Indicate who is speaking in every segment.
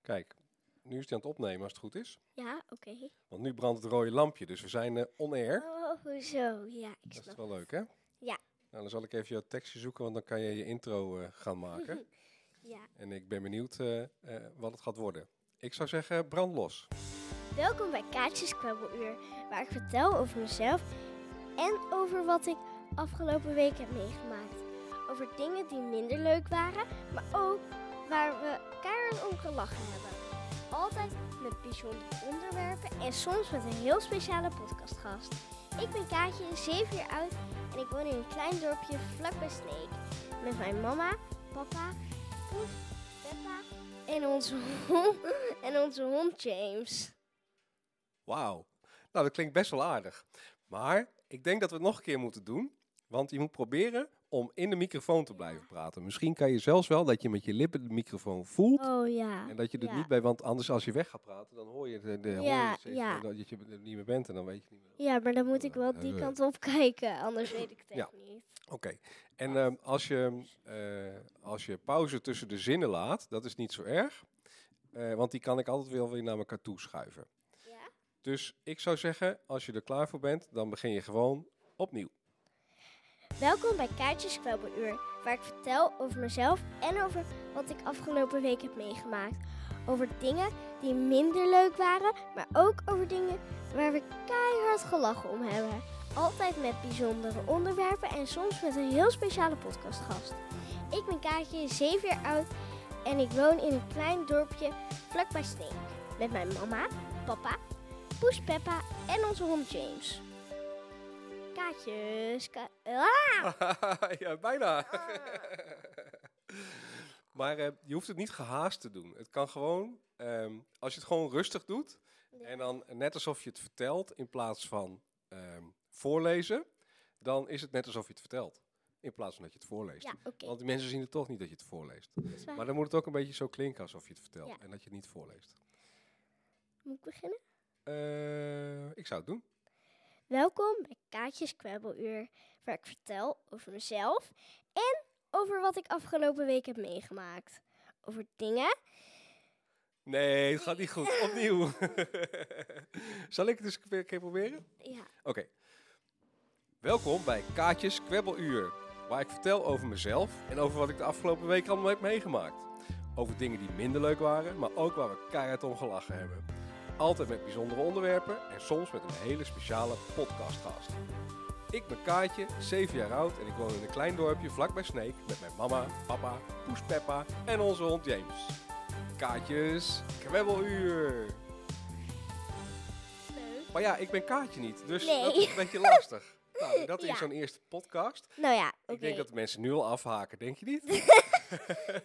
Speaker 1: Kijk, nu is hij aan het opnemen als het goed is.
Speaker 2: Ja, oké.
Speaker 1: Want nu brandt het rode lampje, dus we zijn eh on-air.
Speaker 2: Oh, zo. Ja, ik
Speaker 1: Dat is
Speaker 2: snap.
Speaker 1: wel leuk, hè?
Speaker 2: Ja.
Speaker 1: Nou, dan zal ik even jouw tekstje zoeken, want dan kan je je intro eh, gaan maken.
Speaker 2: Ja.
Speaker 1: en ik ben benieuwd eh, eh, wat het gaat worden. Ik zou zeggen, brand los.
Speaker 2: Welkom bij Kaartjes Kwabbeluur, waar ik vertel over mezelf en over wat ik afgelopen week heb meegemaakt. Over dingen die minder leuk waren, maar ook waar we keihard om gelachen hebben. Altijd met bijzondere onderwerpen en soms met een heel speciale podcastgast. Ik ben Kaatje, 7 jaar oud en ik woon in een klein dorpje vlakbij Sneek. Met mijn mama, papa, poes, Peppa en onze hond, en onze hond James.
Speaker 1: Wauw. Nou, dat klinkt best wel aardig. Maar ik denk dat we het nog een keer moeten doen. Want je moet proberen om in de microfoon te blijven praten. Misschien kan je zelfs wel dat je met je lippen de microfoon voelt.
Speaker 2: Oh ja.
Speaker 1: En dat je er
Speaker 2: ja.
Speaker 1: niet bij, want anders als je weg gaat praten, dan hoor je, de, de, hoor je
Speaker 2: Ja,
Speaker 1: het steeds,
Speaker 2: ja.
Speaker 1: eh, dat je er niet meer bent en dan weet je niet meer.
Speaker 2: Ja, maar dan moet ik wel
Speaker 1: Eh,
Speaker 2: die
Speaker 1: eh.
Speaker 2: kant op kijken, anders weet ik het echt
Speaker 1: Ja.
Speaker 2: niet.
Speaker 1: Oké, en ehm, als, je, eh, als je pauze tussen de zinnen laat, dat is niet zo erg. eh, want die kan ik altijd wel weer naar elkaar toe schuiven.
Speaker 2: Ja?
Speaker 1: Dus ik zou zeggen, als je er klaar voor bent, dan begin je gewoon opnieuw.
Speaker 2: Welkom bij Kaartjes Kwebbeluur, waar ik vertel over mezelf en over wat ik afgelopen week heb meegemaakt. Over dingen die minder leuk waren, maar ook over dingen waar we keihard gelachen om hebben. Altijd met bijzondere onderwerpen en soms met een heel speciale podcastgast. Ik ben Kaartje, 7 jaar oud en ik woon in een klein dorpje vlakbij Sneek. Met mijn mama, papa, poes Peppa en onze hond James. Kaartjes, ka- Ah!
Speaker 1: ja, bijna. maar eh, je hoeft het niet gehaast te doen. Het kan gewoon, ehm, als je het gewoon rustig doet. En dan net alsof je het vertelt in plaats van ehm, voorlezen. Dan is het net alsof je het vertelt. In plaats van dat je het voorleest.
Speaker 2: Ja, oké.
Speaker 1: Want die mensen zien het toch niet dat je het voorleest.
Speaker 2: dat is waar.
Speaker 1: Maar dan moet het ook een beetje zo klinken alsof je het vertelt.
Speaker 2: Ja.
Speaker 1: En dat je het niet voorleest.
Speaker 2: Moet ik beginnen?
Speaker 1: Eh, ik zou het doen.
Speaker 2: Welkom bij Kaatjes Kwebbeluur, waar ik vertel over mezelf en over wat ik afgelopen week heb meegemaakt. Over dingen.
Speaker 1: Nee, het gaat niet goed. Opnieuw. Zal ik het eens een keer proberen?
Speaker 2: Ja,
Speaker 1: Oké. Welkom bij Kaatjes Kwebbeluur, waar ik vertel over mezelf en over wat ik de afgelopen week allemaal heb meegemaakt. Over dingen die minder leuk waren, maar ook waar we keihard om gelachen hebben. Altijd met bijzondere onderwerpen en soms met een hele speciale podcastgast. Ik ben Kaatje, 7 jaar oud en ik woon in een klein dorpje vlakbij Sneek met mijn mama, papa, poes Peppa en onze hond James. Kaatjes Kwebbeluur!
Speaker 2: leuk.
Speaker 1: Maar ja, ik ben Kaatje niet, dus
Speaker 2: Nee.
Speaker 1: dat is een beetje lastig. Nou, dat is
Speaker 2: Ja.
Speaker 1: zo'n eerste podcast.
Speaker 2: Nou ja, oké.
Speaker 1: Ik denk dat de mensen nu al afhaken, denk je niet?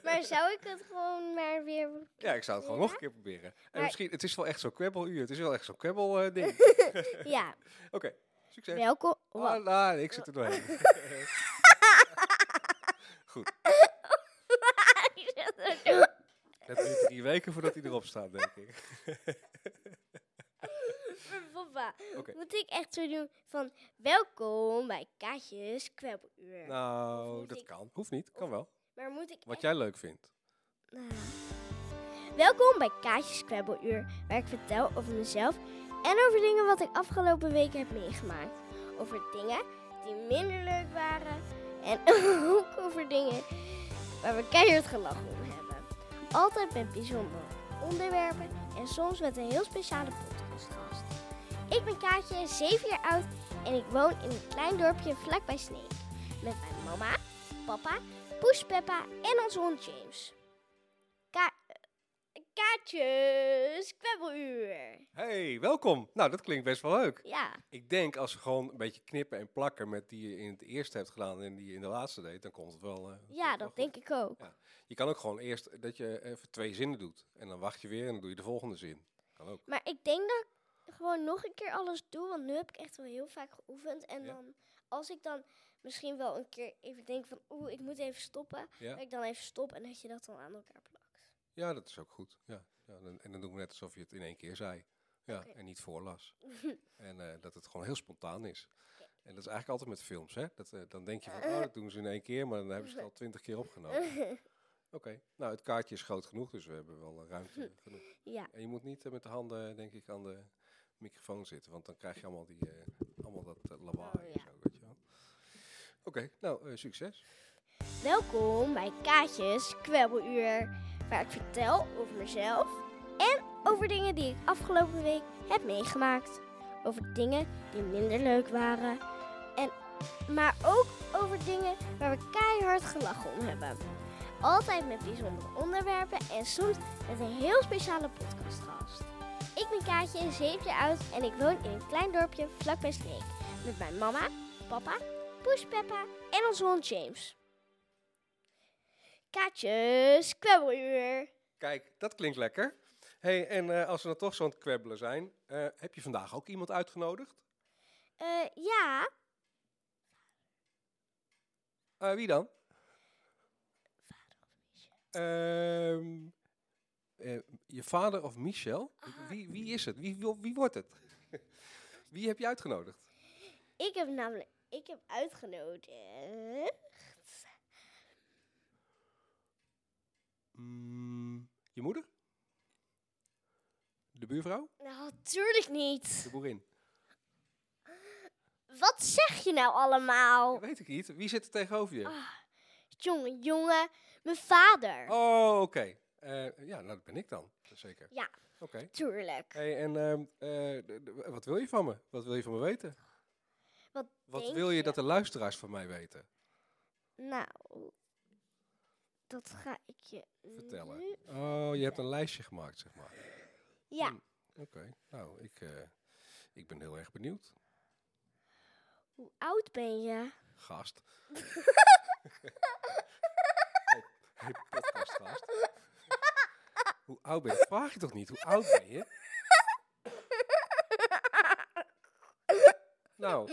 Speaker 2: Maar zou ik het gewoon maar weer...
Speaker 1: ja, ik zou het gewoon nog een keer proberen. En
Speaker 2: Maar-
Speaker 1: misschien, het is wel echt zo'n kwebbeluur, het is wel echt zo'n kwebbel eh, ding.
Speaker 2: Ja,
Speaker 1: Oké, succes.
Speaker 2: welkom... Wa-
Speaker 1: Ah, nou, ik zit er doorheen. Goed, het duurt drie weken voordat hij erop staat, denk ik.
Speaker 2: Papa,
Speaker 1: Oké.
Speaker 2: moet ik echt zo doen van... Welkom bij Kaatjes Kwebbeluur.
Speaker 1: Nou,
Speaker 2: moet
Speaker 1: dat
Speaker 2: ik-
Speaker 1: kan. Hoeft niet, kan
Speaker 2: of-
Speaker 1: wel.
Speaker 2: maar moet ik
Speaker 1: Wat jij leuk vindt.
Speaker 2: Nou. Welkom bij Kaatjes Kwebbeluur, waar ik vertel over mezelf en over dingen wat ik afgelopen weken heb meegemaakt. Over dingen die minder leuk waren en ook over dingen waar we keihard gelachen om hebben. Altijd met bijzondere onderwerpen en soms met een heel speciale podcastgast. Ik ben Kaatje, 7 jaar oud en ik woon in een klein dorpje vlakbij Sneek. Met mijn mama, papa, poes Peppa en onze hond James. Ka eh, kaartjes, kwebbeluur.
Speaker 1: Hey, welkom. Nou, dat klinkt best wel leuk.
Speaker 2: Ja,
Speaker 1: Ik denk als we gewoon een beetje knippen en plakken met die je in het eerste hebt gedaan en die je in de laatste deed, dan komt het wel. eh, komt
Speaker 2: ja
Speaker 1: het wel
Speaker 2: dat denk ik ook.
Speaker 1: Ja. Je kan ook gewoon eerst dat je even twee zinnen doet en dan wacht je weer en dan doe je de volgende zin. Kan ook.
Speaker 2: Maar ik denk dat ik gewoon nog een keer alles doe, want nu heb ik echt wel heel vaak geoefend. En
Speaker 1: Ja.
Speaker 2: dan, als ik dan misschien wel een keer even denk van, oeh, ik moet even stoppen.
Speaker 1: Ja.
Speaker 2: Dat ik dan even stop en dat je dat dan aan elkaar plakt.
Speaker 1: Ja, dat is ook goed. Ja. Ja, dan- en dan doen we net alsof je het in één keer zei. Ja,
Speaker 2: Oké.
Speaker 1: en niet voorlas. en eh, dat het gewoon heel spontaan is. En dat is eigenlijk
Speaker 2: Eh.
Speaker 1: altijd met films, hè? Dat, eh, dan denk je van, oh, dat doen ze in één keer, maar dan hebben ze het al twintig keer opgenomen. nou het kaartje is groot genoeg, dus we hebben wel eh, ruimte genoeg.
Speaker 2: Ja,
Speaker 1: En je moet niet eh, met de handen, denk ik, aan de microfoon zitten, want dan krijg je allemaal, die, eh, allemaal dat eh, lawaai
Speaker 2: Oh,
Speaker 1: en
Speaker 2: ja.
Speaker 1: zo, weet je wel. Oké, nou, eh, succes.
Speaker 2: welkom bij Kaatjes Kwebbeluur, waar ik vertel over mezelf en over dingen die ik afgelopen week heb meegemaakt. Over dingen die minder leuk waren, en, maar ook over dingen waar we keihard gelachen om hebben. Altijd met bijzondere onderwerpen en soms met een heel speciale podcastgast. Ik ben Kaatje, zeven jaar oud en ik woon in een klein dorpje vlakbij Sneek. Met mijn mama, papa, poes Peppa en onze hond James. Kaatjes, kwebbeluur.
Speaker 1: Kijk, dat klinkt lekker. hey, en eh, als we dan toch zo aan het kwebbelen zijn, eh, heb je vandaag ook iemand uitgenodigd?
Speaker 2: Eh, ja,
Speaker 1: Eh, wie dan? Ehm, eh, je vader of Michel?
Speaker 2: Ah.
Speaker 1: Wie, wie is het? Wie, wil- wie wordt het? wie heb je uitgenodigd?
Speaker 2: ik heb namelijk, ik heb uitgenodigd.
Speaker 1: Mm, je moeder? De buurvrouw?
Speaker 2: Nou, natuurlijk niet.
Speaker 1: De boerin?
Speaker 2: Wat zeg je nou allemaal?
Speaker 1: Dat weet ik niet. Wie zit er tegenover je?
Speaker 2: Jongen, jongen, mijn vader.
Speaker 1: Oh, oké. Eh, ja, nou, dat ben ik dan. Zeker.
Speaker 2: Ja.
Speaker 1: Oké.
Speaker 2: Tuurlijk.
Speaker 1: Hey, en ehm, eh, d- d- wat wil je van me? Wat wil je van me weten?
Speaker 2: Wat
Speaker 1: Wat
Speaker 2: denk
Speaker 1: wil je
Speaker 2: je?
Speaker 1: dat de luisteraars van mij weten?
Speaker 2: Nou, dat ga ik je
Speaker 1: Vertellen.
Speaker 2: nu-
Speaker 1: Oh, je hebt een lijstje gemaakt, zeg maar.
Speaker 2: Ja,
Speaker 1: Hmm. Oké, nou, ik, eh, ik ben heel erg benieuwd.
Speaker 2: hoe oud ben je?
Speaker 1: Gast. hey, hey, podcastgast. Hoe oud ben je? Vraag je toch niet? Hoe oud ben je? Nou,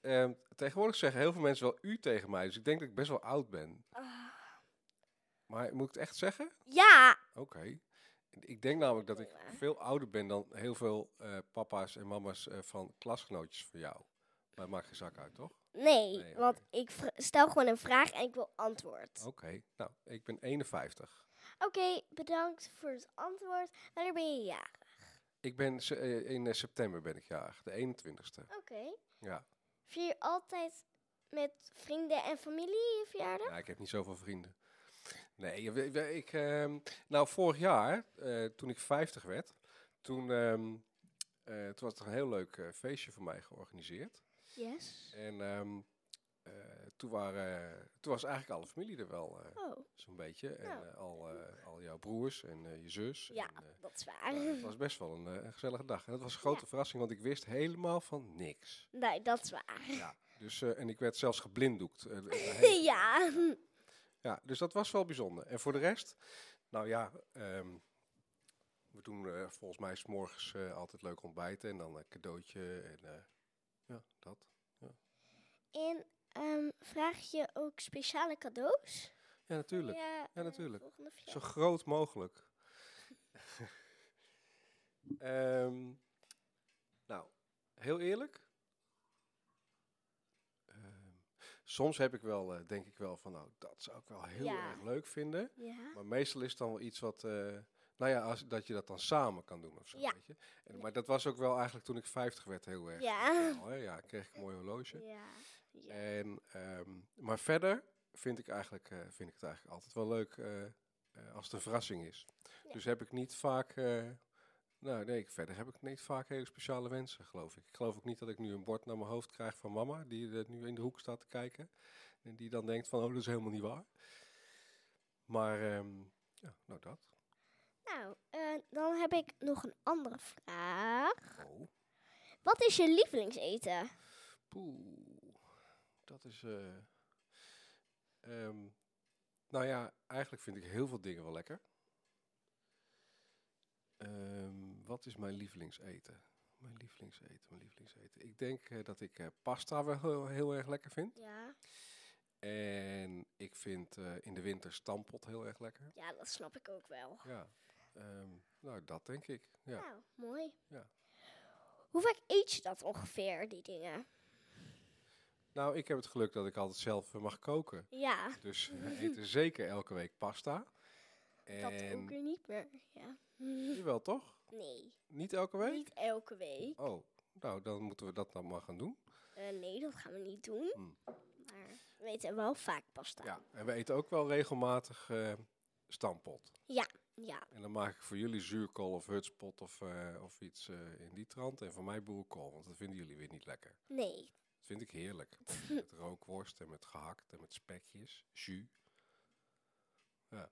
Speaker 1: ehm, tegenwoordig zeggen heel veel mensen wel u tegen mij, dus ik denk dat ik best wel oud ben. Maar moet ik het echt zeggen?
Speaker 2: Ja,
Speaker 1: Oké. Ik denk namelijk dat ik
Speaker 2: Jongen.
Speaker 1: veel ouder ben dan heel veel eh, papa's en mama's eh, van klasgenootjes van jou. Maar maakt geen zak uit, toch?
Speaker 2: nee,
Speaker 1: Nee,
Speaker 2: want ik vra- stel gewoon een vraag en ik wil antwoord.
Speaker 1: Oké. Nou, ik ben 51.
Speaker 2: Oké, bedankt voor het antwoord. Wanneer ben je ja?
Speaker 1: Ik ben se- eh, in eh, september ben ik jarig, de 21ste.
Speaker 2: Oké.
Speaker 1: Ja.
Speaker 2: Vier je altijd met vrienden en familie je verjaardag?
Speaker 1: ja, ik heb niet zoveel vrienden. Nee, je weet- weet- ik, ehm, nou vorig jaar, eh, toen ik 50 werd, toen, ehm, eh, toen was er een heel leuk eh, feestje voor mij georganiseerd.
Speaker 2: Yes.
Speaker 1: En ehm, eh, toen, waren, toen was eigenlijk alle familie er wel eh,
Speaker 2: Oh,
Speaker 1: zo'n beetje. En
Speaker 2: Nou.
Speaker 1: eh, al, eh, al jouw broers en eh, je zus.
Speaker 2: Ja.
Speaker 1: En, eh,
Speaker 2: dat is waar.
Speaker 1: nou, het was best wel een, eh, een gezellige dag. En dat was een grote verrassing, want ik wist helemaal van niks.
Speaker 2: Nee, dat is waar.
Speaker 1: Ja. Dus, eh, en ik werd zelfs geblinddoekt. eh, de- de hele-
Speaker 2: ja.
Speaker 1: ja, dus dat was wel bijzonder. En voor de rest, nou ja, ehm, we doen eh, volgens mij s'morgens eh altijd leuk ontbijten en dan een cadeautje en eh, ja, dat.
Speaker 2: En ehm, vraag je ook speciale cadeaus?
Speaker 1: Ja, natuurlijk.
Speaker 2: Ja, eh,
Speaker 1: natuurlijk.
Speaker 2: volgende verjaardag.
Speaker 1: Zo groot mogelijk. Ehm, nou, heel eerlijk. Ehm, soms heb ik wel, eh, denk ik wel van, nou, dat zou ik wel heel
Speaker 2: Ja.
Speaker 1: erg leuk vinden.
Speaker 2: Ja.
Speaker 1: Maar meestal is het dan wel iets wat, eh, nou ja, als, dat je dat dan samen kan doen of zo,
Speaker 2: Ja.
Speaker 1: weet je. En, maar dat was ook wel eigenlijk toen ik 50 werd heel erg.
Speaker 2: eh, Ja.
Speaker 1: speciaal, hè. ja kreeg ik een mooi horloge.
Speaker 2: Ja. Ja.
Speaker 1: En, ehm, maar verder vind ik, eigenlijk, eh, vind ik het eigenlijk altijd wel leuk eh, eh, als het een verrassing is.
Speaker 2: Ja.
Speaker 1: Dus heb ik niet vaak. eh, nou, nee, ik- verder heb ik niet vaak hele speciale wensen, geloof ik. Ik geloof ook niet dat ik nu een bord naar mijn hoofd krijg van mama, die eh, nu in de hoek staat te kijken. En die dan denkt van, oh, dat is helemaal niet waar. Maar, ehm, ja, nou dat.
Speaker 2: Nou, eh, dan heb ik nog een andere vraag.
Speaker 1: Oh,
Speaker 2: Wat is je lievelingseten?
Speaker 1: poeh. Dat is... eh, ehm, nou ja, eigenlijk vind ik heel veel dingen wel lekker. Ehm, wat is mijn lievelingseten? Mijn lievelingseten, mijn lievelingseten. Ik denk eh, dat ik eh, pasta wel heel, heel erg lekker vind.
Speaker 2: Ja.
Speaker 1: En ik vind eh, in de winter stampot heel erg lekker.
Speaker 2: Ja, dat snap ik ook wel.
Speaker 1: Ja. Ehm, nou, dat denk ik. Ja.
Speaker 2: Nou, mooi.
Speaker 1: Ja.
Speaker 2: Hoe vaak eet je dat ongeveer, die dingen?
Speaker 1: Nou, ik heb het geluk dat ik altijd zelf eh, mag koken.
Speaker 2: Ja,
Speaker 1: Dus we eten zeker elke week pasta.
Speaker 2: dat ook
Speaker 1: En
Speaker 2: weer niet meer. Ja.
Speaker 1: wel toch?
Speaker 2: Nee,
Speaker 1: Niet elke week?
Speaker 2: niet elke week.
Speaker 1: Oh, nou dan moeten we dat dan maar gaan doen.
Speaker 2: Eh, nee, dat gaan we niet doen.
Speaker 1: Hmm.
Speaker 2: Maar we eten wel vaak pasta.
Speaker 1: Ja, en we eten ook wel regelmatig eh, stampot.
Speaker 2: Ja.
Speaker 1: En dan maak ik voor jullie zuurkool of hutspot of, eh, of iets eh, in die trant. En voor mij boerenkool, want dat vinden jullie weer niet lekker.
Speaker 2: Nee.
Speaker 1: Dat vind ik heerlijk. met rookworst en met gehakt en met spekjes, jus. Ja.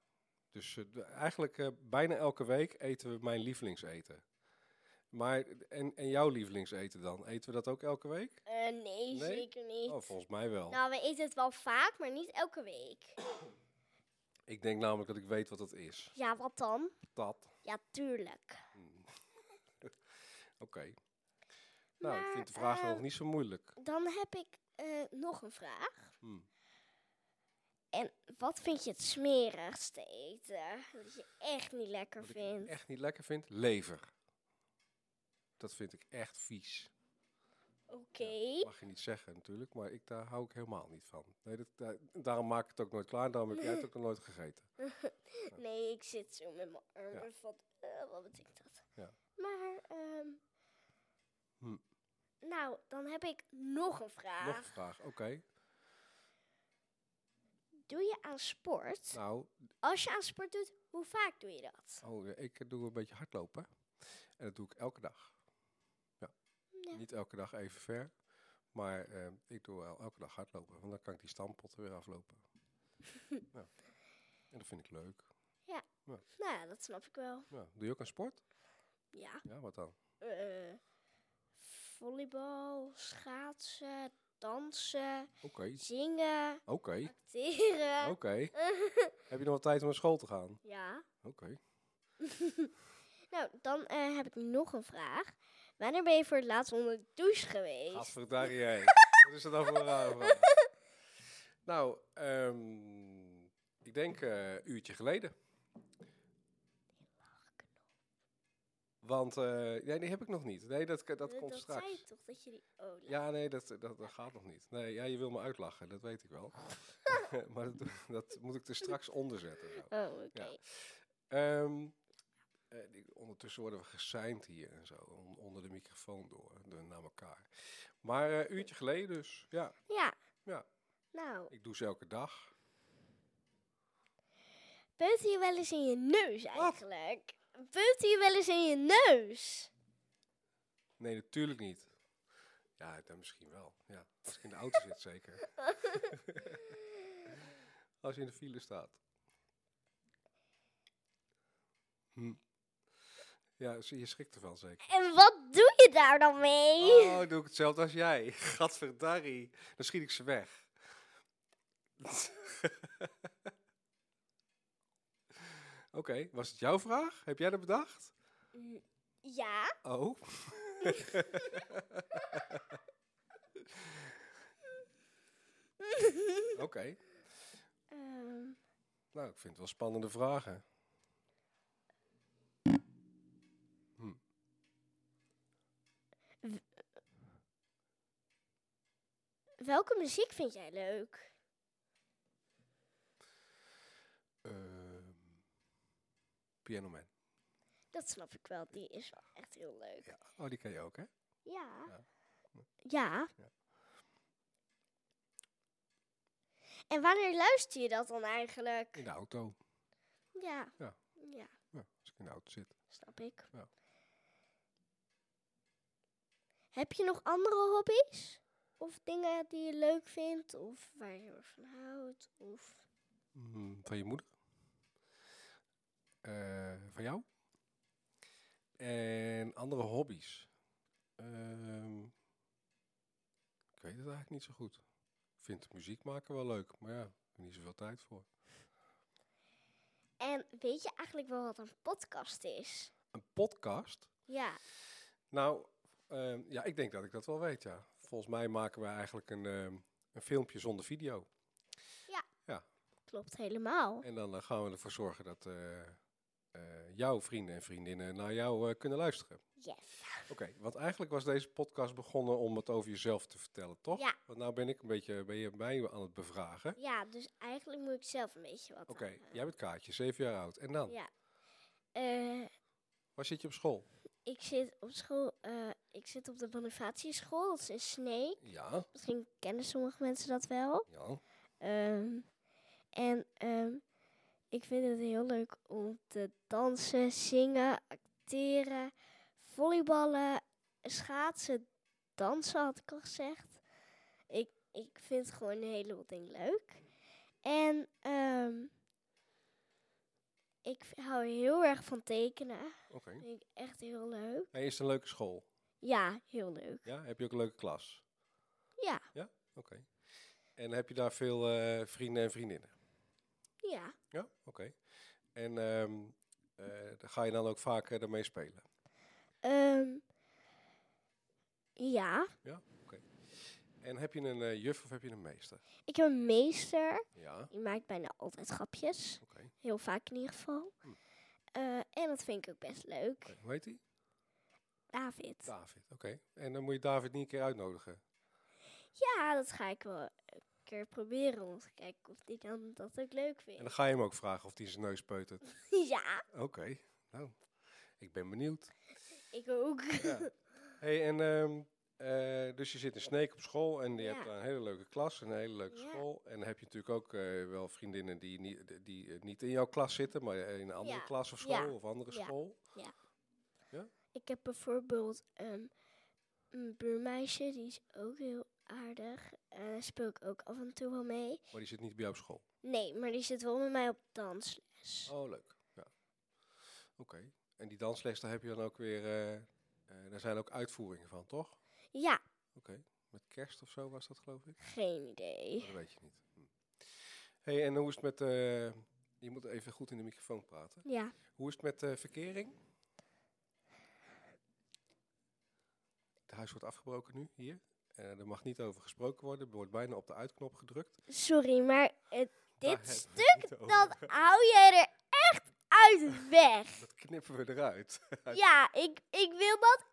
Speaker 1: Dus eh, d- eigenlijk eh, bijna elke week eten we mijn lievelingseten. Maar, en, en jouw lievelingseten dan? Eten we dat ook elke week?
Speaker 2: Eh, nee, zeker niet.
Speaker 1: Oh, volgens mij wel.
Speaker 2: Nou, we eten het wel vaak, maar niet elke week.
Speaker 1: Ik denk namelijk dat ik weet wat dat is.
Speaker 2: Ja, wat dan?
Speaker 1: Dat.
Speaker 2: Ja, tuurlijk.
Speaker 1: Mm. Oké. Nou, ik
Speaker 2: Maar,
Speaker 1: vind de vraag
Speaker 2: eh,
Speaker 1: nog niet zo moeilijk.
Speaker 2: Dan heb ik eh, nog een vraag.
Speaker 1: Hm.
Speaker 2: En wat vind je het smerigste eten? Dat je echt niet lekker
Speaker 1: Wat ik
Speaker 2: vindt.
Speaker 1: echt niet lekker vind? Lever. Dat vind ik echt vies.
Speaker 2: Oké.
Speaker 1: Mag je niet zeggen natuurlijk, maar ik, daar hou ik helemaal niet van. Nee, dat, daar- daarom maak ik het ook nooit klaar, daarom heb jij het ook nog nooit gegeten.
Speaker 2: Nee, ik zit zo met mijn armen
Speaker 1: Ja.
Speaker 2: van, eh, wat betekent dat?
Speaker 1: Ja.
Speaker 2: Maar, ehm
Speaker 1: Hm.
Speaker 2: nou, dan heb ik nog een vraag.
Speaker 1: Nog een vraag, oké.
Speaker 2: Doe je aan sport?
Speaker 1: Nou,
Speaker 2: Als je aan sport doet, hoe vaak doe je dat?
Speaker 1: oh, eh, ik doe een beetje hardlopen. En dat doe ik elke dag. Ja.
Speaker 2: Ja.
Speaker 1: Niet elke dag even ver, maar eh, ik doe wel elke dag hardlopen. Want dan kan ik die stampotten weer aflopen. ja. En dat vind ik leuk.
Speaker 2: Nou ja, dat snap ik wel.
Speaker 1: Ja. Doe je ook een sport?
Speaker 2: Ja.
Speaker 1: Ja, wat dan?
Speaker 2: Eh, volleybal, schaatsen, dansen,
Speaker 1: Oké,
Speaker 2: zingen,
Speaker 1: oké,
Speaker 2: acteren.
Speaker 1: oké. heb je nog wat tijd om naar school te gaan? Oké.
Speaker 2: Ja. Nou, dan eh, heb ik nog een vraag. Wanneer ben je voor het laatst onder de douche geweest?
Speaker 1: Gadverdarie, jij. Wat is dat dan voor een rare vraag? Nou, ehm, ik denk eh, een uurtje geleden. Want, eh, nee, die heb ik nog niet. Nee, dat, dat
Speaker 2: Eh,
Speaker 1: komt straks.
Speaker 2: zei je toch, dat je die... Oh, la-
Speaker 1: Ja, nee, dat, dat, dat gaat nog niet. Nee, ja, je wil me uitlachen, dat weet ik wel. maar dat, doe- dat moet ik er straks onder zetten. zo.
Speaker 2: Oh, oké.
Speaker 1: Ja. Ehm, eh, die- ondertussen worden we geseind hier en zo, on- onder de microfoon door, door naar elkaar. Maar eh, een uurtje geleden dus, ja.
Speaker 2: Ja.
Speaker 1: Ja.
Speaker 2: Nou,
Speaker 1: Ik doe ze elke dag.
Speaker 2: beut je wel eens in je neus eigenlijk? Beut je wel eens in je neus?
Speaker 1: Nee, natuurlijk niet. Ja, dan misschien wel. Ja, als ik in de auto zit, zeker. als je in de file staat. Hm. Ja, zie- je schrikt ervan, zeker.
Speaker 2: En wat doe je daar dan mee?
Speaker 1: Oh, doe ik hetzelfde als jij. Gadverdarrie. Dan schiet ik ze weg. Oké, was het jouw vraag? Heb jij dat bedacht?
Speaker 2: Ja,
Speaker 1: Oh. Oké.
Speaker 2: ehm,
Speaker 1: Nou, ik vind het wel spannende vragen.
Speaker 2: welke muziek vind jij leuk?
Speaker 1: Ehm Piano Man.
Speaker 2: Dat snap ik wel, die is wel echt heel leuk.
Speaker 1: Ja. Oh, die ken je ook, hè?
Speaker 2: Ja.
Speaker 1: Ja.
Speaker 2: Ja.
Speaker 1: Ja.
Speaker 2: En wanneer luister je dat dan eigenlijk?
Speaker 1: In de auto.
Speaker 2: Ja.
Speaker 1: Ja.
Speaker 2: Ja,
Speaker 1: Ja, als ik in de auto zit.
Speaker 2: snap ik.
Speaker 1: Ja.
Speaker 2: Heb je nog andere hobby's? Of dingen die je leuk vindt? Of waar je heel erg van houdt? Of...
Speaker 1: Mm, van je moeder. Eh, van jou. En andere hobby's. Ehm, ik weet het eigenlijk niet zo goed. Ik vind muziek maken wel leuk, maar ja, ik heb niet zoveel tijd voor.
Speaker 2: En weet je eigenlijk wel wat een podcast is?
Speaker 1: Een podcast?
Speaker 2: Ja.
Speaker 1: Nou, ehm, ja, ik denk dat ik dat wel weet, ja. Volgens mij maken we eigenlijk een, ehm, een filmpje zonder video.
Speaker 2: Klopt helemaal.
Speaker 1: En dan eh, gaan we ervoor zorgen dat eh, eh, eh, jouw vrienden en vriendinnen naar jou eh, kunnen luisteren.
Speaker 2: Yes.
Speaker 1: Oké, want eigenlijk was deze podcast begonnen om het over jezelf te vertellen, toch?
Speaker 2: Ja.
Speaker 1: Want nou ben ik een beetje ben je mij aan het bevragen.
Speaker 2: Ja, dus eigenlijk moet ik zelf een beetje wat.
Speaker 1: Oké,
Speaker 2: aanvullen.
Speaker 1: jij bent Kaatje, zeven jaar oud. En dan?
Speaker 2: Ja. Eh,
Speaker 1: Waar zit je op school?
Speaker 2: ik zit op school. eh, ik zit op de Bonifatieschool. Dat is in Snee.
Speaker 1: Ja.
Speaker 2: Misschien kennen sommige mensen dat wel.
Speaker 1: Ja.
Speaker 2: Ehm, en ehm, ik vind het heel leuk om te dansen, zingen, acteren, volleyballen, schaatsen, dansen had ik al gezegd. Ik, ik vind gewoon een heleboel dingen leuk. En ehm, ik v- hou heel erg van tekenen.
Speaker 1: Oké.
Speaker 2: Vind ik echt heel leuk.
Speaker 1: Hey, is het een leuke school?
Speaker 2: Ja, heel leuk.
Speaker 1: Ja? Heb je ook een leuke klas?
Speaker 2: Ja,
Speaker 1: Oké. En heb je daar veel eh, vrienden en vriendinnen?
Speaker 2: ja.
Speaker 1: Ja, oké. En ehm, eh, ga je dan ook vaak eh, daarmee spelen?
Speaker 2: Ehm, ja.
Speaker 1: En heb je een eh, juf of heb je een meester?
Speaker 2: Ik heb een meester.
Speaker 1: Ja, oké.
Speaker 2: Die maakt bijna altijd grapjes. Heel vaak in ieder geval.
Speaker 1: Hm.
Speaker 2: Eh, en dat vind ik ook best leuk.
Speaker 1: Oké, Hoe heet die?
Speaker 2: David.
Speaker 1: David, oké. En dan moet je David niet een keer uitnodigen.
Speaker 2: Ja, dat ga ik wel een keer proberen. Om te kijken of die dan dat ook leuk
Speaker 1: En dan
Speaker 2: vindt.
Speaker 1: ga je hem ook vragen of hij zijn neus peutert.
Speaker 2: ja,
Speaker 1: Oké, nou, ik ben benieuwd.
Speaker 2: ik ook.
Speaker 1: Ja. Hey, en ehm, eh, dus je zit in Sneek op school en je
Speaker 2: Ja.
Speaker 1: hebt daar een hele leuke klas, een hele leuke
Speaker 2: Ja.
Speaker 1: school. En dan heb je natuurlijk ook eh, wel vriendinnen die, niet, die eh, niet in jouw klas zitten, maar in een andere
Speaker 2: Ja.
Speaker 1: klas of school
Speaker 2: Ja.
Speaker 1: of andere
Speaker 2: Ja.
Speaker 1: school.
Speaker 2: Ik heb bijvoorbeeld ehm, een buurmeisje. Die is ook heel aardig. En daar speel ik ook af en toe wel mee.
Speaker 1: Maar die zit niet bij jou op school.
Speaker 2: Nee, maar die zit wel met mij op dansles.
Speaker 1: Oh, leuk. Ja. Oké. En die dansles, daar heb je dan ook weer... eh, eh, daar zijn ook uitvoeringen van, toch? Oké.
Speaker 2: Ja,
Speaker 1: Met kerst of zo was dat, geloof ik?
Speaker 2: geen idee.
Speaker 1: Dat weet je niet. Hm. hey, en hoe is het met... eh, je moet even goed in de microfoon praten.
Speaker 2: Ja,
Speaker 1: Hoe is het met eh, verkering? Het huis wordt afgebroken nu, hier. Eh, er mag niet over gesproken worden. Er wordt bijna op de uitknop gedrukt.
Speaker 2: sorry, maar het,
Speaker 1: Daar
Speaker 2: dit
Speaker 1: hebben we het
Speaker 2: stuk
Speaker 1: niet over.
Speaker 2: Dan hou jij er echt uit de weg.
Speaker 1: Dat knippen we eruit.
Speaker 2: Ja, ik, ik wil dat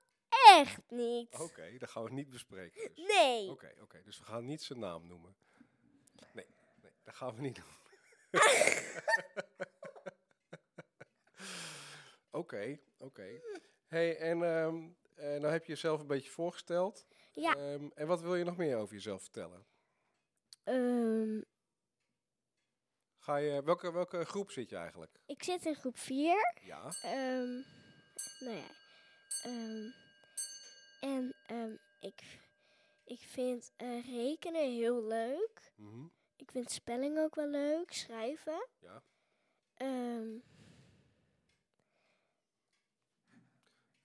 Speaker 2: echt niet.
Speaker 1: Oké, dat gaan we niet bespreken. dus.
Speaker 2: Nee.
Speaker 1: Oké, oké. Dus we gaan niet zijn naam noemen. Nee, nee dat gaan we niet doen. oké, oké. hey, en ehm eh, nou heb je jezelf een beetje voorgesteld.
Speaker 2: Ja.
Speaker 1: Ehm, en wat wil je nog meer over jezelf vertellen?
Speaker 2: Ehm,
Speaker 1: Ga je, welke, welke groep zit je eigenlijk?
Speaker 2: ik zit in groep 4.
Speaker 1: Ja,
Speaker 2: Ehm nou ja. ehm, en ehm, ik, ik vind eh, rekenen heel leuk.
Speaker 1: mhm,
Speaker 2: Ik vind spelling ook wel leuk. Schrijven.
Speaker 1: Ja.
Speaker 2: Ehm,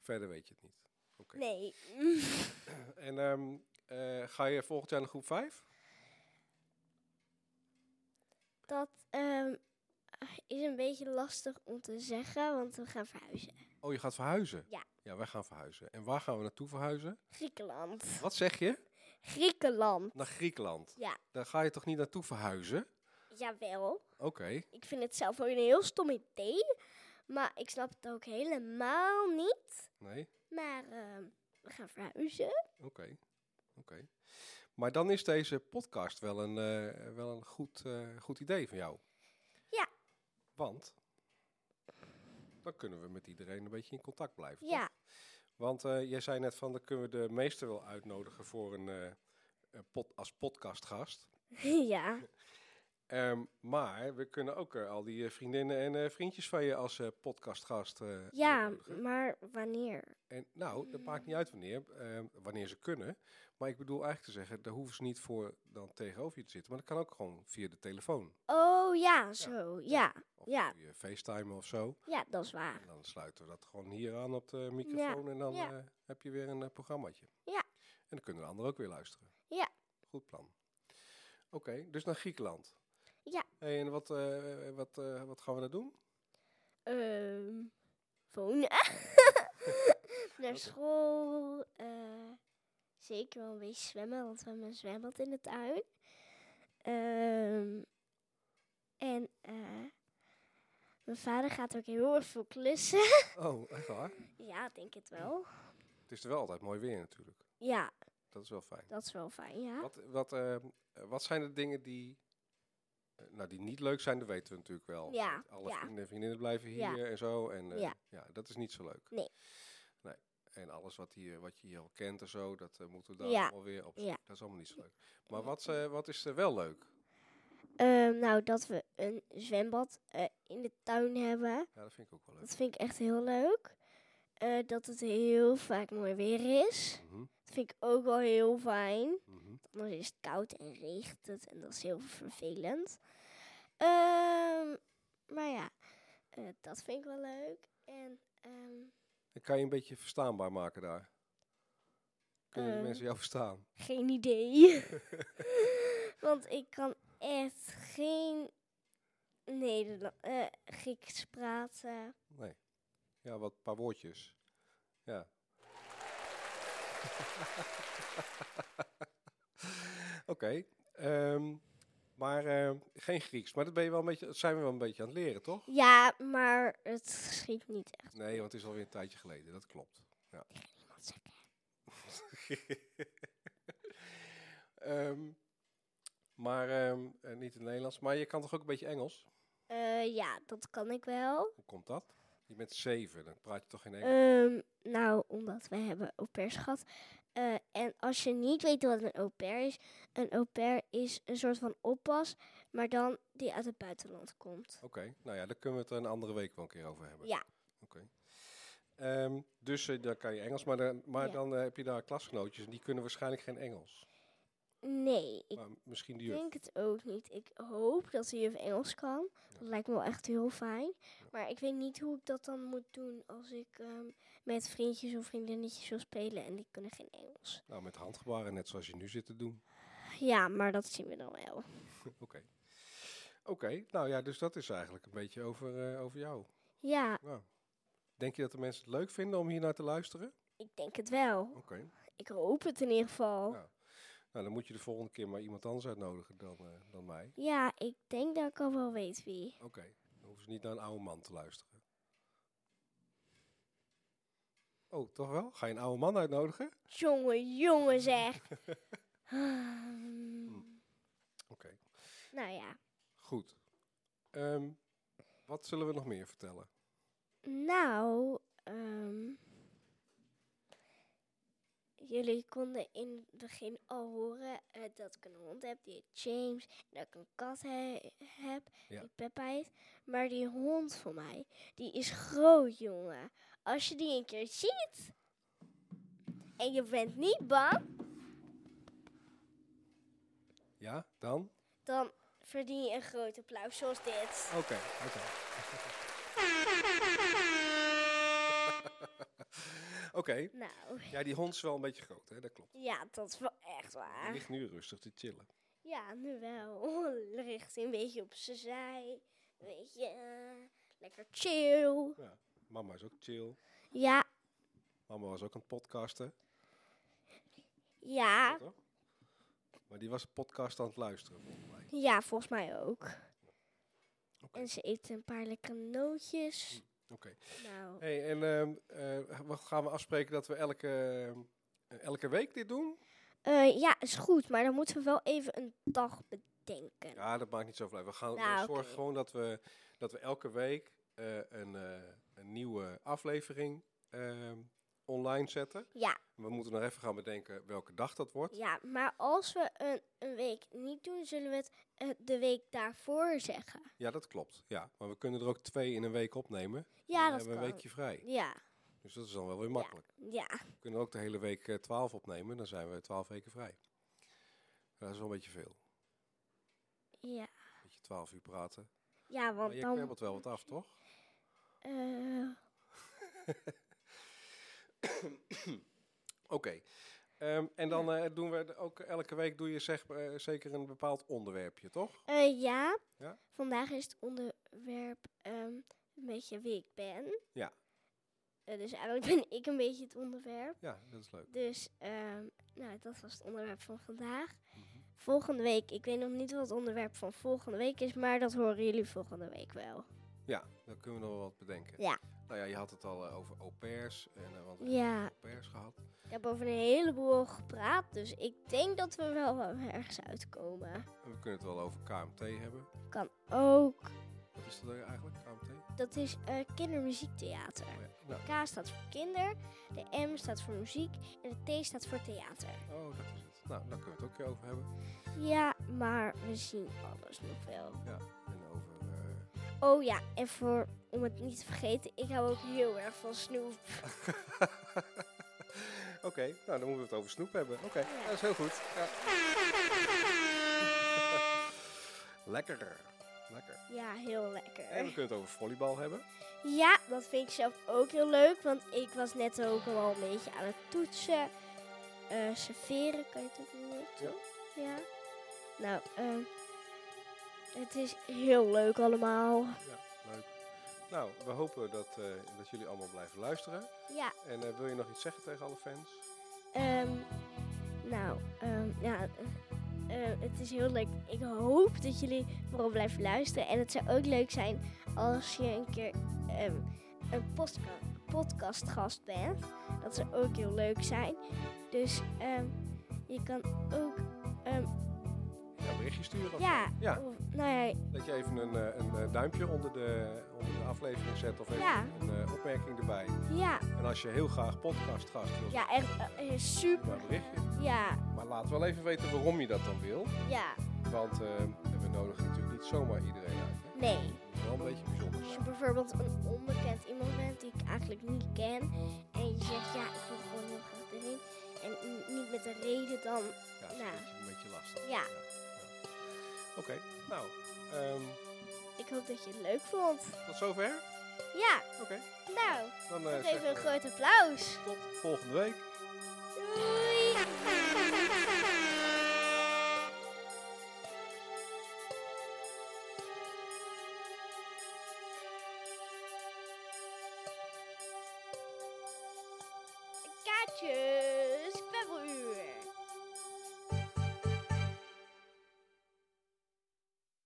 Speaker 1: verder weet je het niet. Oké.
Speaker 2: nee.
Speaker 1: En ehm, eh, ga je volgend jaar naar groep 5?
Speaker 2: Dat ehm, is een beetje lastig om te zeggen, want we gaan verhuizen.
Speaker 1: Oh, je gaat verhuizen?
Speaker 2: Ja.
Speaker 1: Ja, wij gaan verhuizen. En waar gaan we naartoe verhuizen?
Speaker 2: Griekenland.
Speaker 1: Wat zeg je?
Speaker 2: Griekenland.
Speaker 1: Naar Griekenland.
Speaker 2: Ja.
Speaker 1: Daar ga je toch niet naartoe verhuizen?
Speaker 2: Jawel.
Speaker 1: Oké.
Speaker 2: Ik vind het zelf ook een heel stom idee. Maar ik snap het ook helemaal niet.
Speaker 1: Nee.
Speaker 2: Maar ehm, we gaan verhuizen.
Speaker 1: Oké. Oké. Maar dan is deze podcast wel een, eh, wel een goed, eh, goed idee van jou.
Speaker 2: Ja.
Speaker 1: Want dan kunnen we met iedereen een beetje in contact blijven. toch?
Speaker 2: Ja,
Speaker 1: Want eh, jij zei net van, dan kunnen we de meester wel uitnodigen voor een, eh, een pod, als podcastgast.
Speaker 2: ja,
Speaker 1: Ehm, maar we kunnen ook eh, al die eh, vriendinnen en eh, vriendjes van je als eh, podcastgast eh
Speaker 2: ja,
Speaker 1: uitnodigen.
Speaker 2: maar wanneer?
Speaker 1: En nou, dat maakt niet uit wanneer, ehm, wanneer ze kunnen. Maar ik bedoel eigenlijk te zeggen, daar hoeven ze niet voor dan tegenover je te zitten. Maar dat kan ook gewoon via de telefoon.
Speaker 2: Oh ja, zo. Ja,
Speaker 1: Of
Speaker 2: Ja.
Speaker 1: via FaceTime of zo.
Speaker 2: ja, dat is waar.
Speaker 1: En dan sluiten we dat gewoon hier aan op de microfoon. En dan
Speaker 2: ja.
Speaker 1: eh, heb je weer een eh, programmaatje.
Speaker 2: Ja.
Speaker 1: En dan kunnen de anderen ook weer luisteren.
Speaker 2: Ja.
Speaker 1: Goed plan. Oké, dus naar Griekenland.
Speaker 2: Ja.
Speaker 1: Hey, en wat, eh, wat, eh, wat gaan we daar doen?
Speaker 2: Ehm wonen. Naar school. eh, zeker wel een beetje zwemmen, want we hebben een zwembad in de tuin. Ehm, en eh, Mijn vader gaat ook heel erg veel klussen.
Speaker 1: Oh, echt waar?
Speaker 2: Ja, ik denk het wel.
Speaker 1: Het is er wel altijd mooi weer natuurlijk.
Speaker 2: Ja,
Speaker 1: Dat is wel fijn.
Speaker 2: dat is wel fijn, ja.
Speaker 1: Wat, wat, eh, eh, wat zijn de dingen die, eh, nou, die niet leuk zijn, dat weten we natuurlijk wel.
Speaker 2: Ja,
Speaker 1: Want Alle
Speaker 2: ja.
Speaker 1: vrienden en vriendinnen blijven
Speaker 2: Ja.
Speaker 1: hier en zo. En eh, ja.
Speaker 2: Ja.
Speaker 1: dat is niet zo leuk.
Speaker 2: Nee.
Speaker 1: Nee. En alles wat, hier, wat je hier al kent en zo, dat eh, moeten we daar
Speaker 2: Ja,
Speaker 1: allemaal weer op.
Speaker 2: ja.
Speaker 1: Dat is allemaal niet zo leuk. Maar wat, eh, wat is er wel leuk?
Speaker 2: Ehm, nou, dat we een zwembad eh, in de tuin hebben.
Speaker 1: Ja, dat vind ik ook wel leuk.
Speaker 2: Dat vind ik echt heel leuk. Eh, dat het heel vaak mooi weer is.
Speaker 1: Mhm,
Speaker 2: Dat vind ik ook wel heel fijn.
Speaker 1: mhm.
Speaker 2: Anders is het koud en regent het en dat is heel vervelend. Ehm, maar ja, eh, dat vind ik wel leuk. En ehm,
Speaker 1: En kan je een beetje verstaanbaar maken daar? Kunnen de
Speaker 2: Eh.
Speaker 1: mensen jou verstaan?
Speaker 2: geen idee. Want ik kan echt geen Nederland, eh, Grieks praten.
Speaker 1: Nee. Ja, wat paar woordjes. Ja. Oké. ehm, maar ehm, geen Grieks. Maar dat, ben je wel een beetje, dat zijn we wel een beetje aan het leren, toch?
Speaker 2: Ja, maar het schiet niet echt.
Speaker 1: Nee, want het is alweer een tijdje geleden. Dat klopt. Ja.
Speaker 2: Niemand zegt het.
Speaker 1: Ehm, maar ehm, eh, niet in het Nederlands. Maar je kan toch ook een beetje Engels?
Speaker 2: Eh, ja, dat kan ik wel.
Speaker 1: Hoe komt dat? Je bent zeven, dan praat je toch geen Engels?
Speaker 2: Ehm, nou, omdat we hebben au pairs gehad. Eh, en als je niet weet wat een au pair is, een au pair is een soort van oppas, maar dan die uit het buitenland komt.
Speaker 1: Oké, nou ja, daar kunnen we het er een andere week wel een keer over hebben.
Speaker 2: Ja.
Speaker 1: Oké. Ehm, dus eh, dan kan je Engels, maar, dan, maar
Speaker 2: Ja.
Speaker 1: dan eh, heb je daar klasgenootjes en die kunnen waarschijnlijk geen Engels.
Speaker 2: Nee, ik
Speaker 1: maar misschien eh, de juf.
Speaker 2: denk het ook niet. Ik hoop dat de juf Engels kan. Dat lijkt me wel echt heel fijn. Maar ik weet niet hoe ik dat dan moet doen als ik ehm, met vriendjes of vriendinnetjes wil spelen en die kunnen geen Engels.
Speaker 1: Nou, met handgebaren, net zoals je nu zit te doen.
Speaker 2: Ja, maar dat zien we dan wel.
Speaker 1: Oké. Oké, nou ja, dus dat is eigenlijk een beetje over, eh, over jou.
Speaker 2: Ja,
Speaker 1: Nou, denk je dat de mensen het leuk vinden om hier naar te luisteren?
Speaker 2: ik denk het wel.
Speaker 1: Oké.
Speaker 2: Ik hoop het in ieder geval.
Speaker 1: Ja. Nou, dan moet je de volgende keer maar iemand anders uitnodigen dan, eh, dan mij.
Speaker 2: Ja, ik denk dat ik al wel weet wie.
Speaker 1: Oké, dan hoeven ze niet naar een oude man te luisteren. Oh, toch wel? Ga je een oude man uitnodigen?
Speaker 2: Jongen, jongen zeg. Ehm,
Speaker 1: Oké,
Speaker 2: nou ja.
Speaker 1: goed. Ehm, wat zullen we nog meer vertellen?
Speaker 2: Nou, ehm, jullie konden in het begin al horen eh, dat ik een hond heb, die heet James. En dat ik een kat he- heb,
Speaker 1: Ja.
Speaker 2: die Peppa heet. Maar die hond van mij, die is groot, jongen. Als je die een keer ziet en je bent niet bang,
Speaker 1: Ja, dan?
Speaker 2: dan verdien je een groot applaus zoals dit.
Speaker 1: Oké, oké. oké,
Speaker 2: Nou,
Speaker 1: ja, die hond is wel een beetje groot, hè? Dat klopt.
Speaker 2: ja, dat is wel echt
Speaker 1: Die
Speaker 2: waar.
Speaker 1: ligt nu rustig te chillen.
Speaker 2: Ja, nu wel. Richt een beetje op zijn zij. Een beetje eh, lekker chill.
Speaker 1: Ja. Mama is ook chill.
Speaker 2: Ja,
Speaker 1: Mama was ook aan het podcasten.
Speaker 2: ja,
Speaker 1: Toch? Maar die was een podcast aan het luisteren, volgens mij.
Speaker 2: ja, volgens mij ook.
Speaker 1: Oké.
Speaker 2: En ze eet een paar lekkere nootjes.
Speaker 1: Oké.
Speaker 2: Nou,
Speaker 1: Hey, en ehm, eh, we gaan we afspreken dat we elke, eh, elke week dit doen?
Speaker 2: eh, ja, is goed, maar dan moeten we wel even een dag bedenken.
Speaker 1: Ja, dat maakt niet zoveel uit. We gaan we
Speaker 2: Nou,
Speaker 1: zorgen
Speaker 2: oké.
Speaker 1: gewoon dat we, dat we elke week eh, een, eh, een nieuwe aflevering ehm, online zetten.
Speaker 2: Ja,
Speaker 1: We moeten nog even gaan bedenken welke dag dat wordt.
Speaker 2: ja, maar als we een, een week niet doen, zullen we het eh, de week daarvoor zeggen.
Speaker 1: Ja, dat klopt. Ja. Maar we kunnen er ook twee in een week opnemen.
Speaker 2: Ja,
Speaker 1: Dan
Speaker 2: dat
Speaker 1: hebben we
Speaker 2: kan.
Speaker 1: een weekje vrij.
Speaker 2: Ja,
Speaker 1: Dus dat is dan wel weer makkelijk.
Speaker 2: ja,
Speaker 1: We kunnen ook de hele week eh, 12 opnemen. Dan zijn we 12 weken vrij. Dat is wel een beetje veel.
Speaker 2: ja.
Speaker 1: Een beetje 12 uur praten.
Speaker 2: Ja,
Speaker 1: Maar
Speaker 2: want
Speaker 1: je
Speaker 2: dan...
Speaker 1: knabbelt wel wat af, toch?
Speaker 2: eh,
Speaker 1: Oké. Ehm, en dan eh, doen we de- ook elke week doe je zeg, eh, zeker een bepaald onderwerpje, toch?
Speaker 2: Eh, ja.
Speaker 1: Ja?
Speaker 2: Vandaag is het onderwerp ehm, een beetje wie ik ben.
Speaker 1: Ja.
Speaker 2: Eh, dus eigenlijk ben ik een beetje het onderwerp.
Speaker 1: Ja, dat is leuk.
Speaker 2: Dus ehm, nou, dat was het onderwerp van vandaag.
Speaker 1: Mhm.
Speaker 2: Volgende week, ik weet nog niet wat het onderwerp van volgende week is, maar dat horen jullie volgende week wel.
Speaker 1: Ja, daar kunnen we nog wel wat bedenken.
Speaker 2: Ja.
Speaker 1: Nou ja, je had het al eh, over au pairs en eh, want we
Speaker 2: Ja.
Speaker 1: hebben au pairs gehad.
Speaker 2: Ik heb over een heleboel al gepraat, dus ik denk dat we wel wel ergens uitkomen.
Speaker 1: En we kunnen het wel over KMT hebben.
Speaker 2: Kan ook.
Speaker 1: Wat is dat eigenlijk, KMT?
Speaker 2: Dat is eh, kindermuziektheater.
Speaker 1: Oh ja, nou,
Speaker 2: K staat voor kinder, de M staat voor muziek en de T staat voor theater.
Speaker 1: oh, dat is het. Nou, daar kunnen we het ook weer over hebben.
Speaker 2: Ja, maar we zien alles nog wel.
Speaker 1: En over... eh,
Speaker 2: Oh ja, en voor, om het niet te vergeten, ik hou ook heel erg van Snoep.
Speaker 1: Oké, nou dan moeten we het over snoep hebben. Oké, ja, dat is heel goed. Ja. Lekker. Lekker.
Speaker 2: Ja, heel
Speaker 1: En we
Speaker 2: lekker.
Speaker 1: kunnen het over volleybal hebben.
Speaker 2: Ja, dat vind ik zelf ook heel leuk, want ik was net ook al wel een beetje aan het toetsen. eh serveren kan je het ook noemen, toch? Ja. Nou, ehm, het is heel leuk allemaal.
Speaker 1: Ja, leuk. Nou, we hopen dat, eh, dat jullie allemaal blijven luisteren.
Speaker 2: Ja,
Speaker 1: En eh, wil je nog iets zeggen tegen alle fans?
Speaker 2: Ehm, nou, ehm, ja, eh, eh, het is heel leuk. Ik hoop dat jullie vooral blijven luisteren. En het zou ook leuk zijn als je een keer ehm, een postka- podcastgast bent. Dat zou ook heel leuk zijn. Dus ehm, je kan ook,
Speaker 1: Ja, berichtje sturen. of-
Speaker 2: ja,
Speaker 1: Ja.
Speaker 2: of- nou ja,
Speaker 1: Dat je even een, eh, een eh, duimpje onder de, onder de aflevering zet of even
Speaker 2: Ja.
Speaker 1: een eh, opmerking erbij.
Speaker 2: ja,
Speaker 1: En als je heel graag podcastgast wilt,
Speaker 2: ja, echt eh, eh,
Speaker 1: stuur maar
Speaker 2: super.
Speaker 1: een berichtje.
Speaker 2: Ja,
Speaker 1: Maar laat wel even weten waarom je dat dan wil.
Speaker 2: ja,
Speaker 1: Want eh, we nodigen natuurlijk niet zomaar iedereen uit. Hè?
Speaker 2: nee.
Speaker 1: Het moet wel een beetje bijzonder
Speaker 2: Als je
Speaker 1: zijn.
Speaker 2: bijvoorbeeld een onbekend iemand bent die ik eigenlijk niet ken. En je zegt ja, ik wil gewoon heel graag erin. En n- niet met de reden dan.
Speaker 1: Ja, dat is
Speaker 2: Ja.
Speaker 1: Een, beetje, een beetje lastig.
Speaker 2: Nou. Ja.
Speaker 1: ja. Oké, nou, ehm,
Speaker 2: Ik hoop dat je het leuk vond.
Speaker 1: tot zover.
Speaker 2: Ja,
Speaker 1: Oké,
Speaker 2: nou,
Speaker 1: dan eh,
Speaker 2: nog
Speaker 1: zeggen
Speaker 2: even een
Speaker 1: we
Speaker 2: groot applaus.
Speaker 1: tot volgende week.
Speaker 2: Doei! Kaatje!